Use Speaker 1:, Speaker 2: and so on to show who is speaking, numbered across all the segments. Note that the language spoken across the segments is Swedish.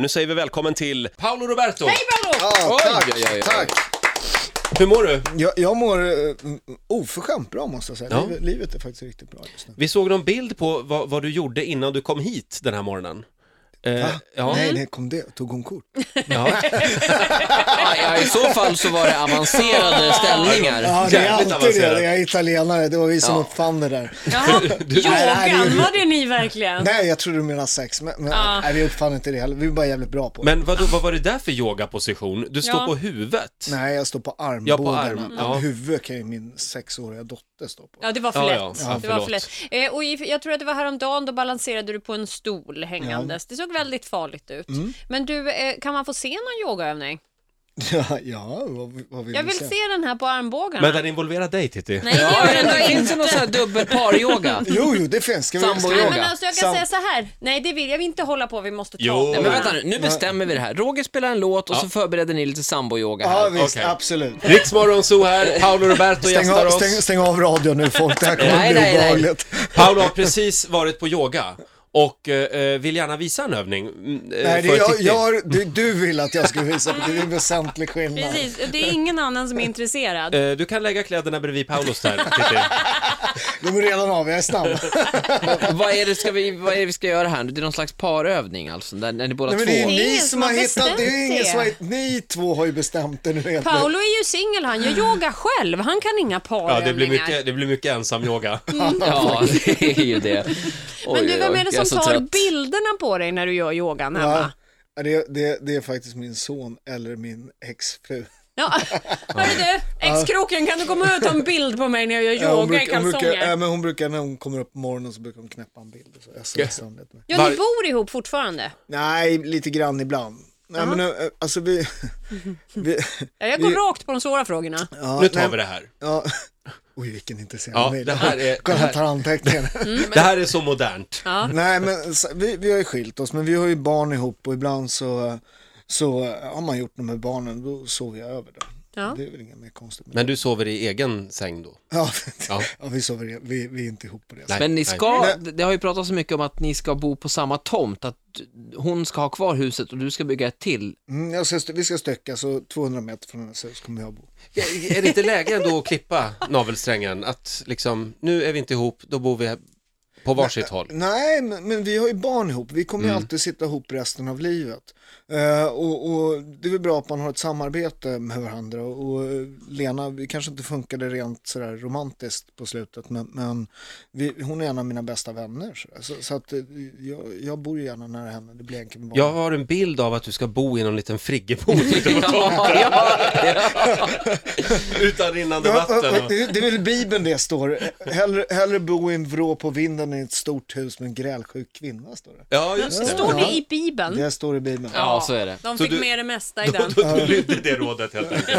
Speaker 1: Nu säger vi välkommen till Paolo Roberto.
Speaker 2: Hej Paolo!
Speaker 3: Ja,
Speaker 1: Oj,
Speaker 3: tack,
Speaker 1: oj, oj, oj.
Speaker 3: tack.
Speaker 1: Hur mår du?
Speaker 3: Jag, jag mår eh, oförskämt bra måste jag säga.
Speaker 1: Ja. Mm.
Speaker 3: Livet, livet är faktiskt riktigt bra just nu.
Speaker 1: Vi såg någon bild på vad, vad du gjorde innan du kom hit den här morgonen. Eh, ja.
Speaker 3: Nej, nej, kom det. Tog hon kort?
Speaker 1: ja.
Speaker 4: Ja, ja, I så fall så var det avancerade ställningar.
Speaker 3: Ja, det är
Speaker 1: Jävligt
Speaker 3: alltid det.
Speaker 1: avancerat.
Speaker 3: Jag är italienare, det var vi som
Speaker 4: Ja.
Speaker 3: uppfann det där.
Speaker 2: Jaha,
Speaker 3: Nej, det är
Speaker 2: yogan
Speaker 3: ju-
Speaker 2: var det ni verkligen?
Speaker 3: Nej, jag tror du menar sex, men, men
Speaker 2: Ja.
Speaker 3: nej, vi uppfann inte det heller. Vi var bara jävligt bra på det.
Speaker 1: Men vad, vad var det där för yogaposition? Du står
Speaker 2: Ja.
Speaker 1: på huvudet.
Speaker 3: Nej, jag står på armbågarna.
Speaker 1: Ja, på arm, ja.
Speaker 3: Men Huvudet kan ju min sexåriga dotter stå på.
Speaker 2: Ja, det var för
Speaker 1: Ja,
Speaker 2: lätt.
Speaker 1: ja. Ja,
Speaker 2: det var för
Speaker 1: förlåt.
Speaker 2: lätt. Eh, och i, jag tror att det var häromdagen, då balanserade du på en stol hängandes. Det såg väldigt farligt ut.
Speaker 3: Mm.
Speaker 2: Men du, eh, kan man få se någon yogaövning?
Speaker 3: Ja, ja vad, vad vill
Speaker 2: Jag
Speaker 3: du
Speaker 2: vill
Speaker 3: se?
Speaker 2: se den här på armbågarna.
Speaker 1: Men den involverar dig Titti.
Speaker 2: Nej, det gör den då
Speaker 4: Det
Speaker 2: inte.
Speaker 4: finns det någon sån här dubbelpar-yoga?
Speaker 3: Jo, jo, det finns. Ska vi, ska
Speaker 2: Nej,
Speaker 4: Sambo-yoga.
Speaker 2: men alltså jag kan
Speaker 3: Sam-
Speaker 2: säga så här. Nej, det vill jag inte hålla på. Vi måste ta
Speaker 1: Jo.
Speaker 2: det
Speaker 1: Nej,
Speaker 4: Men
Speaker 2: bara.
Speaker 4: vänta nu, nu bestämmer vi det här. Roger spelar en låt och så förbereder ni lite sambo-yoga
Speaker 3: Ja,
Speaker 4: här.
Speaker 3: visst,
Speaker 1: Okej.
Speaker 3: absolut.
Speaker 1: Riksmorgon så här, Paolo Roberto
Speaker 3: Stäng
Speaker 1: gästar
Speaker 3: av,
Speaker 1: oss.
Speaker 3: stäng, stäng av radion nu folk, det här kommer
Speaker 4: Nej,
Speaker 3: bli
Speaker 4: nej, nej.
Speaker 3: obehagligt.
Speaker 1: Paolo har precis varit på yoga och eh, vill gärna visa en övning mm, eh,
Speaker 3: Nej, det,
Speaker 1: för
Speaker 3: jag,
Speaker 1: Titti.
Speaker 3: jag, har- du, du vill att jag ska visa på det, det är en väsentlig skillnad.
Speaker 2: Precis, det är ingen annan som är intresserad.
Speaker 1: Eh, Du kan lägga kläderna bredvid Paulos där, Titti.
Speaker 3: De är redan av, jag är snabb.
Speaker 4: Vad är, det, ska vi, vad är det vi ska göra här? Det är någon slags parövning alltså, där, där ni båda
Speaker 3: Nej, men det är
Speaker 4: två...
Speaker 3: ju
Speaker 2: Det är
Speaker 3: ni
Speaker 2: ingen
Speaker 3: som har hittat,
Speaker 2: bestämt
Speaker 3: det är ingen
Speaker 2: det.
Speaker 3: som har, ni två har ju bestämt det nu helt
Speaker 2: Paolo är ju singel, han gör yoga själv. Han kan inga
Speaker 1: Ja,
Speaker 2: parövningar.
Speaker 1: det blir mycket, det blir mycket ensam yoga.
Speaker 4: Ja, det är ju det. Oj,
Speaker 2: Men du, vem
Speaker 4: oj,
Speaker 2: är det
Speaker 4: jag
Speaker 2: som
Speaker 4: så
Speaker 2: tar
Speaker 4: trött.
Speaker 2: bilderna på dig när du gör yogan hemma?
Speaker 3: Ja, det, det, det är faktiskt min son eller min exfru.
Speaker 2: Ja. Hörru du, exkroken, kan du komma och ta en bild på mig när jag gör
Speaker 3: Ja, hon,
Speaker 2: yoga i
Speaker 3: brukar, hon, brukar,
Speaker 2: kalsonger?
Speaker 3: ja, men hon brukar, när hon kommer upp på morgonen så brukar hon knäppa en bild och så smsar hon lite.
Speaker 2: Ja,
Speaker 1: Var-
Speaker 2: ni bor ihop fortfarande.
Speaker 3: Nej, lite grann ibland. Nej, men eh, alltså vi... vi
Speaker 2: Ja, Jag går
Speaker 3: Vi-
Speaker 2: rakt på de svåra frågorna.
Speaker 3: ja,
Speaker 1: Nu tar
Speaker 3: nej,
Speaker 1: vi det här.
Speaker 3: Ja. Oj, vilken intresserad
Speaker 1: Ja,
Speaker 3: mail.
Speaker 1: det här är- det
Speaker 3: Kolla,
Speaker 1: här-
Speaker 3: han tar anteckningar.
Speaker 2: Mm.
Speaker 1: Det här är så modernt.
Speaker 2: Ja.
Speaker 3: Nej, men s- vi, vi har ju skilt oss, men vi har ju barn ihop och ibland så, så eh, har man gjort något med barnen, då sover jag över dem.
Speaker 2: Ja.
Speaker 3: Det är väl inget mer konstigt med det.
Speaker 1: Men du sover i egen säng då?
Speaker 3: Ja,
Speaker 1: Ja.
Speaker 3: ja. vi sover, vi, vi är inte ihop på det.
Speaker 1: Nej.
Speaker 3: sättet.
Speaker 4: Men ni ska,
Speaker 3: Nej.
Speaker 4: det har ju pratats så mycket om att ni ska bo på samma tomt, att hon ska ha kvar huset och du ska bygga ett till.
Speaker 3: Mm, jag ska, stö- vi ska stöcka, så 200 meter från hennes hus kommer jag bo.
Speaker 1: Är det inte läge ändå att klippa navelsträngen? Att liksom, nu är vi inte ihop, då bor vi på varsitt håll.
Speaker 3: Nej, men, men vi har ju barn ihop. Vi kommer ju alltid sitta ihop resten av livet. Eh, och, och det är väl bra att man har ett samarbete med varandra. Och, och Lena, vi kanske inte funkade rent sådär romantiskt på slutet, men, men vi, hon är en av mina bästa vänner. sådär. Så, så att eh, jag, jag bor ju gärna nära henne, det blir enkelt med barn.
Speaker 1: Jag har en bild av att du ska bo i någon liten friggebod
Speaker 4: Ja, ja.
Speaker 1: utan rinnande
Speaker 3: Ja, ja,
Speaker 1: vatten.
Speaker 3: ja,
Speaker 1: Och...
Speaker 3: det det är väl i Bibeln det står. Hellre, hellre bo i en vrå på vinden än i ett stort hus med en grälsjuk kvinna, står det.
Speaker 1: Ja, just det.
Speaker 2: Står det i Bibeln?
Speaker 3: Det står i Bibeln.
Speaker 4: ja, så är det.
Speaker 2: De
Speaker 1: Så
Speaker 2: fick
Speaker 1: du-
Speaker 2: med det mesta i den.
Speaker 1: Då, då lydde det rådet helt enkelt.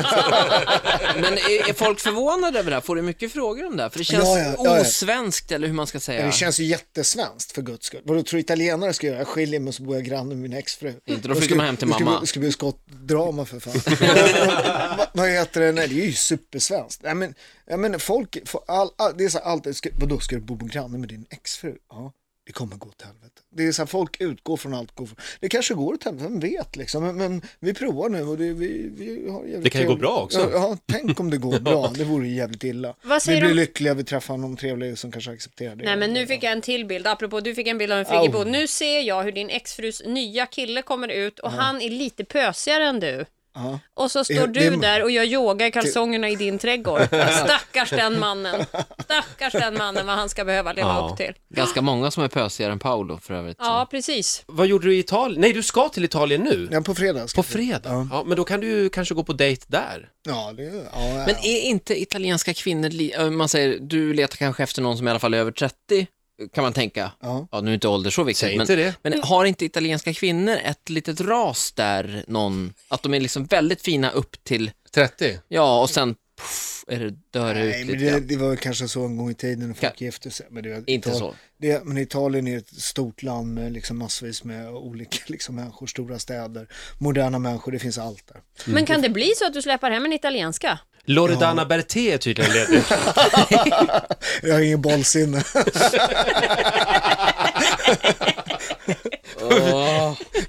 Speaker 4: Men är, är folk förvånade över det här? Får du mycket frågor om det här? För det känns
Speaker 3: Ja, ja, ja, ja.
Speaker 4: osvenskt, eller hur man ska säga.
Speaker 3: Det känns ju jättesvenskt för guds skull. Vadå, tror du italienare ska göra? Jag skiljer mig och så bor jag granne med min exfru.
Speaker 4: Inte, då flyttar man hem till
Speaker 3: Det skulle-
Speaker 4: mamma.
Speaker 3: det skulle bli skottdrama för fan. Vad- Vad heter det? Nej, det är ju supersvenskt. Nej, men, jag menar, folk, får all, all, det är så här, alltid, ska, vadå, ska du bo granne med din exfru? Ja. Det kommer gå åt helvete. Det är så här, folk utgår från allt. Går från, det kanske går åt helvete, vem vet liksom. Men, men vi provar nu och det, vi, vi har jävligt
Speaker 1: Det kan ju gå
Speaker 3: trevligt.
Speaker 1: bra också.
Speaker 3: Ja, ja, tänk om det går bra. Det vore ju jävligt illa.
Speaker 2: Vad
Speaker 3: Vi
Speaker 2: säger
Speaker 3: blir
Speaker 2: de-
Speaker 3: lyckliga, vi träffar någon trevlig som kanske accepterar det.
Speaker 2: Nej men nu fick jag en till bild, apropå du fick en bild av en friggebod. Nu ser jag hur din exfrus nya kille kommer ut och han är lite pösigare än du.
Speaker 3: Ja.
Speaker 2: Och så står
Speaker 3: Det-
Speaker 2: du
Speaker 3: det-
Speaker 2: där och gör yoga i kalsongerna i din trädgård. Stackars den mannen. Stackars den mannen vad han ska behöva leva
Speaker 1: Ja.
Speaker 2: upp till.
Speaker 4: Ganska många som är pösigare än Paolo för övrigt.
Speaker 2: Ja, precis.
Speaker 1: Vad gjorde du i Italien? Nej, du ska till Italien nu.
Speaker 3: Ja, på fredag. ska
Speaker 1: På
Speaker 3: vi-
Speaker 1: fredag.
Speaker 3: Ja,
Speaker 1: Ja, men då kan du ju kanske gå på dejt där.
Speaker 3: ja det ja,
Speaker 4: Men
Speaker 3: ja.
Speaker 4: är inte italienska kvinnor, li- äh, man säger, du letar kanske efter någon som i alla fall är över 30, kan man tänka.
Speaker 3: Ja.
Speaker 4: Ja, nu är inte ålder så viktigt.
Speaker 1: Säg
Speaker 4: men,
Speaker 1: inte det.
Speaker 4: Men har inte italienska kvinnor ett litet ras där någon, att de är liksom väldigt fina upp till,
Speaker 1: 30.
Speaker 4: ja, och sen puff, är det dör det
Speaker 3: Nej,
Speaker 4: ut
Speaker 3: men
Speaker 4: lite
Speaker 3: det,
Speaker 4: grann.
Speaker 3: det var väl kanske så en gång i tiden när folk
Speaker 4: Ka-
Speaker 3: gifte sig. Men det, var-
Speaker 4: Inte
Speaker 3: Ital-
Speaker 4: så.
Speaker 3: Det, men Italien är ett stort land med liksom massvis med olika liksom människor, stora städer, moderna människor, det finns allt där.
Speaker 2: Men kan det bli så att du släpar hem en italienska?
Speaker 1: Loredana Berté är tydligen ledig.
Speaker 3: Jag har ingen bollsinne.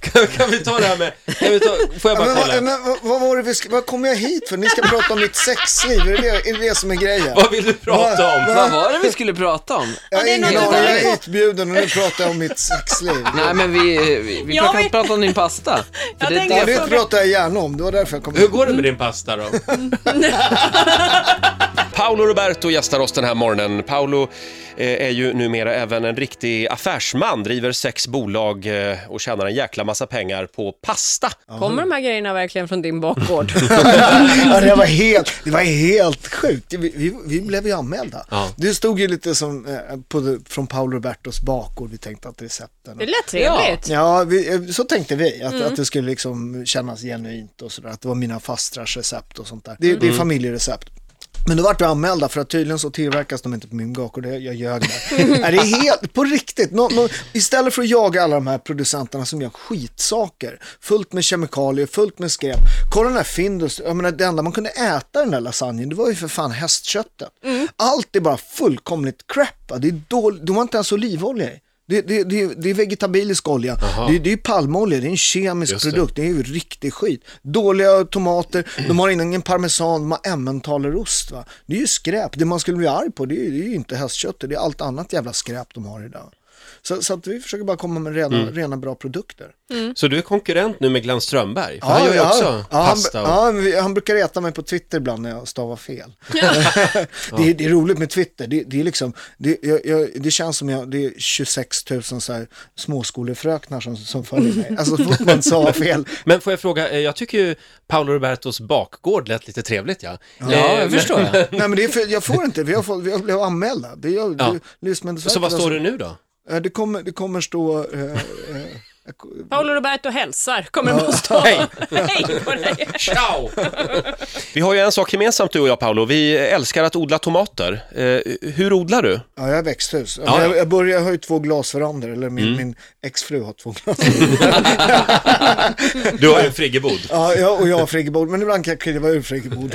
Speaker 1: Kan, kan vi ta det här med, kan vi ta, får jag
Speaker 3: Ja,
Speaker 1: bara
Speaker 3: men vad,
Speaker 1: kolla?
Speaker 3: men, vad, vad var det vi sk- vad kom jag hit för? Ni ska prata om mitt sexliv, är det det, är det, det som är grejen?
Speaker 1: Vad vill du prata om?
Speaker 4: Vad var det vi skulle prata om?
Speaker 3: Jag har
Speaker 2: det är
Speaker 3: ingen
Speaker 2: någon
Speaker 3: aning, jag
Speaker 2: annan.
Speaker 3: är utbjuden och nu pratar jag om mitt sexliv.
Speaker 4: Nej, men vi, vi, vi
Speaker 2: Jag
Speaker 4: kan
Speaker 2: vill-
Speaker 4: prata om din pasta.
Speaker 2: Jag
Speaker 4: För det, är
Speaker 2: tänkte-
Speaker 3: Ja,
Speaker 4: därför-
Speaker 3: det pratar jag gärna om, det var därför jag kom
Speaker 1: Hur
Speaker 3: hit.
Speaker 1: går det med din pasta då? Paolo Roberto gästar oss den här morgonen. Paolo eh, är ju numera även en riktig affärsman, driver sex bolag eh, och tjänar en jäkla massa pengar på pasta.
Speaker 2: Kommer de här grejerna verkligen från din bakgård?
Speaker 3: Ja, det, var helt, det var helt sjukt. Vi, vi, vi blev ju anmälda.
Speaker 1: Ja.
Speaker 3: Det stod ju lite som eh, på, det- från Paolo Robertos bakgård, vi tänkte att recepten.
Speaker 2: Det lät trevligt.
Speaker 3: Ja, vi, eh, så tänkte vi. Att, att det skulle liksom kännas genuint och sådär. Att det var mina fastrars recept och sånt där. Det, det är familjerecept. Men då vart vi anmälda för att tydligen så tillverkas de inte på min bakgård. Jag, jag ljög där. Nej, det är helt, på riktigt. Nå, nå, istället för att jaga alla de här producenterna som gör skitsaker. Fullt med kemikalier, fullt med skräp. Kolla den här Findus. Jag menar, det enda man kunde äta i den där lasagnen, det var ju för fan hästköttet. Allt är bara fullkomligt crap. va. Det är dåligt. De har inte ens olivolja i. Det, det, det, det är vegetabilisk olja, det, det är palmolja, det är en kemisk
Speaker 1: Just det.
Speaker 3: produkt, det. är ju riktig skit. Dåliga tomater, de har ingen parmesan, de har emmentaleröst va. Det är ju skräp, det man skulle bli arg på det är, det är ju inte hästköttet, det är allt annat jävla skräp de har idag. Så, så att vi försöker bara komma med rena,
Speaker 1: Mm.
Speaker 3: rena bra produkter.
Speaker 1: Så du är konkurrent nu med Glenn Strömberg? För han gör ju också
Speaker 3: Mm. ja, han,
Speaker 1: pasta. Och...
Speaker 3: ja, vi- han brukar reta mig på Twitter ibland när jag stavar fel. det, är, det är roligt med Twitter. Det, det, är liksom, det, jag, jag, det känns som jag, det är 26 000 så här småskolefröknar som, som följer mig. Alltså så fort man stavar fel.
Speaker 1: Men får jag fråga, eh, jag tycker ju Paolo Robertos bakgård lät lite trevligt ja. Eh,
Speaker 4: Ja, jag förstår. Jag.
Speaker 3: Nej men det är för, jag får inte, vi har, fått, vi har blivit anmälda. Det gör,
Speaker 1: Ja.
Speaker 3: det, Livsmedelsverket.
Speaker 1: Så vad står det
Speaker 3: alltså.
Speaker 1: nu då?
Speaker 3: Eh, Det kommer, det kommer stå... Eh, eh,
Speaker 2: Paolo Roberto hälsar. Kommer det bara stå
Speaker 1: Hej!
Speaker 2: hej på dig?
Speaker 1: Ciao! Vi har ju en sak gemensamt du och jag Paolo, vi älskar att odla tomater. Eh, hur odlar du?
Speaker 3: ja, jag har växthus.
Speaker 1: Ja, Mm. ja.
Speaker 3: Jag, jag, börjar, jag har ju två glasverandor, eller min, min exfru har två glasverandor.
Speaker 1: Du har ju en friggebod.
Speaker 3: Ja, jag, och jag har friggebod, men ibland kan jag kliva ur friggebod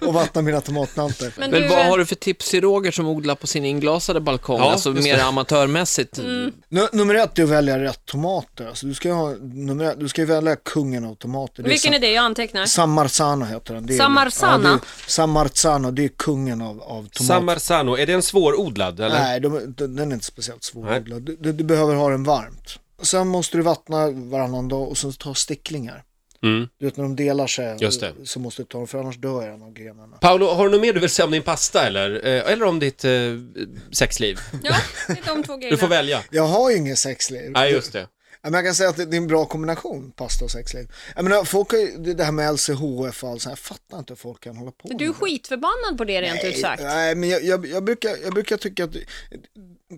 Speaker 3: och vattna mina tomatplantor.
Speaker 2: Men
Speaker 4: Men
Speaker 2: du,
Speaker 4: vad
Speaker 2: eh,
Speaker 4: har du för tips till Roger som odlar på sin inglasade balkong?
Speaker 1: Ja,
Speaker 4: alltså
Speaker 1: just
Speaker 4: mer amatörmässigt.
Speaker 2: Mm.
Speaker 3: Nu- Nummer ett är att välja rätt tomater. Alltså, du, ska ju ha, nummer ett, du ska ju välja kungen av tomater.
Speaker 2: vilken är
Speaker 3: det?
Speaker 2: det? Jag antecknar.
Speaker 3: är Sa- Samarzano heter den. Det är-
Speaker 2: Samarzana?
Speaker 3: Ja, det är- Samarzano, det är kungen av, av tomater.
Speaker 1: Samarzano, är det en svårodlad eller?
Speaker 3: Nej, de, de, den är inte speciellt svårodlad. Du, du, du behöver ha den varmt. Sen måste du vattna varannan dag och sen ta sticklingar.
Speaker 1: Mm.
Speaker 3: Du vet när de delar sig
Speaker 1: Just det.
Speaker 3: så måste du ta dem för annars dör en av grenarna.
Speaker 1: Paolo, har du något mer du vill säga om din pasta eller? Eh, eller om ditt eh, sexliv?
Speaker 2: Ja, det är de två grejerna.
Speaker 1: Du får välja.
Speaker 3: Jag har ju inget sexliv.
Speaker 1: Nej, just det.
Speaker 3: Ja, men jag kan säga att det det är en bra kombination, pasta och sexliv. Jag menar, folk har ju, det det här med LCHF och allt sånt, jag fattar inte hur folk kan hålla på
Speaker 2: Du är
Speaker 3: med det.
Speaker 2: skitförbannad på det rent ut sagt.
Speaker 3: Nej, men jag, jag, jag, brukar, jag brukar tycka att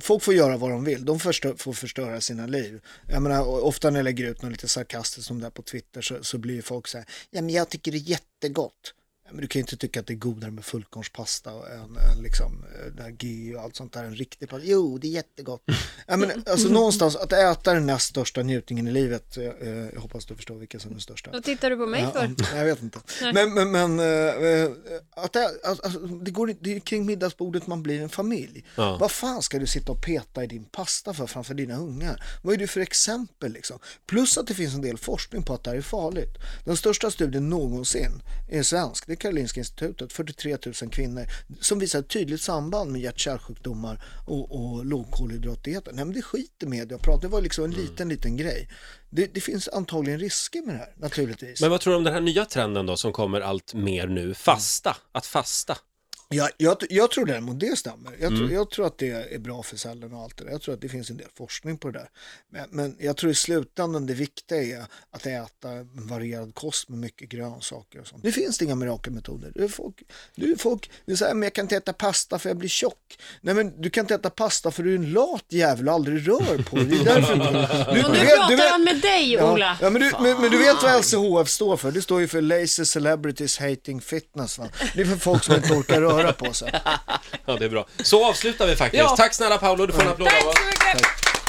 Speaker 3: folk får göra vad de vill. De förstö- får förstöra sina liv. Jag menar, och ofta när jag lägger ut något lite sarkastiskt som det här på Twitter så, så blir ju folk så här, ja men jag tycker det är jättegott. Ja, Men du kan ju inte tycka att det är godare med fullkornspasta och en, en liksom, eh, det här G och allt sånt där, en riktig pasta. Jo, det är jättegott. Ja, men, alltså någonstans, att äta är den näst största njutningen i livet, jag, jag hoppas du förstår vilken som är den största.
Speaker 2: Vad tittar du på mig för?
Speaker 3: Ja, ja, jag vet inte. Men, men, men eh, eh, att det, att, att, det, går, inte- det är ju kring middagsbordet man blir en familj.
Speaker 1: Ja.
Speaker 3: Vad fan ska du sitta och peta i din pasta för framför dina ungar? Vad är du för exempel liksom? Plus att det finns en del forskning på att det här är farligt. Den största studien någonsin är svensk. Det är Karolinska institutet, 43 000 kvinnor, som visar ett tydligt samband med hjärt-kärlsjukdomar och, och lågkolhydratdieten. Nej men det skiter media pratar, det var liksom en liten, liten grej. Det, det finns antagligen risker med det här, naturligtvis.
Speaker 1: Men vad tror du om den här nya trenden då som kommer allt mer nu? Fasta, att fasta.
Speaker 3: Jag, jag, jag tror däremot det stämmer. Jag, tror- jag tror att det är bra för cellerna och allt det där. Jag tror att det finns en del forskning på det där. Men, men jag tror i slutändan det viktiga är att äta en varierad kost med mycket grönsaker och sånt. Det finns inga mirakelmetoder. Det är folk, det är folk det säger men jag kan inte äta pasta för jag blir tjock. Nej men du kan inte äta pasta för du är en lat jävel och aldrig rör på dig. Det är därför du,
Speaker 2: Och nu pratar han med dig, Ola.
Speaker 3: Ja, ja, men, du, men, men du vet vad LCHF står för? Det står ju för Lazy Celebrities Hating Fitness. Va? Det är för folk som inte orkar röra på sig.
Speaker 1: Ja, det är bra. Så avslutar vi faktiskt.
Speaker 4: Ja.
Speaker 1: Tack snälla Paolo, du får en applåd
Speaker 2: Tack
Speaker 1: av oss.
Speaker 2: så mycket!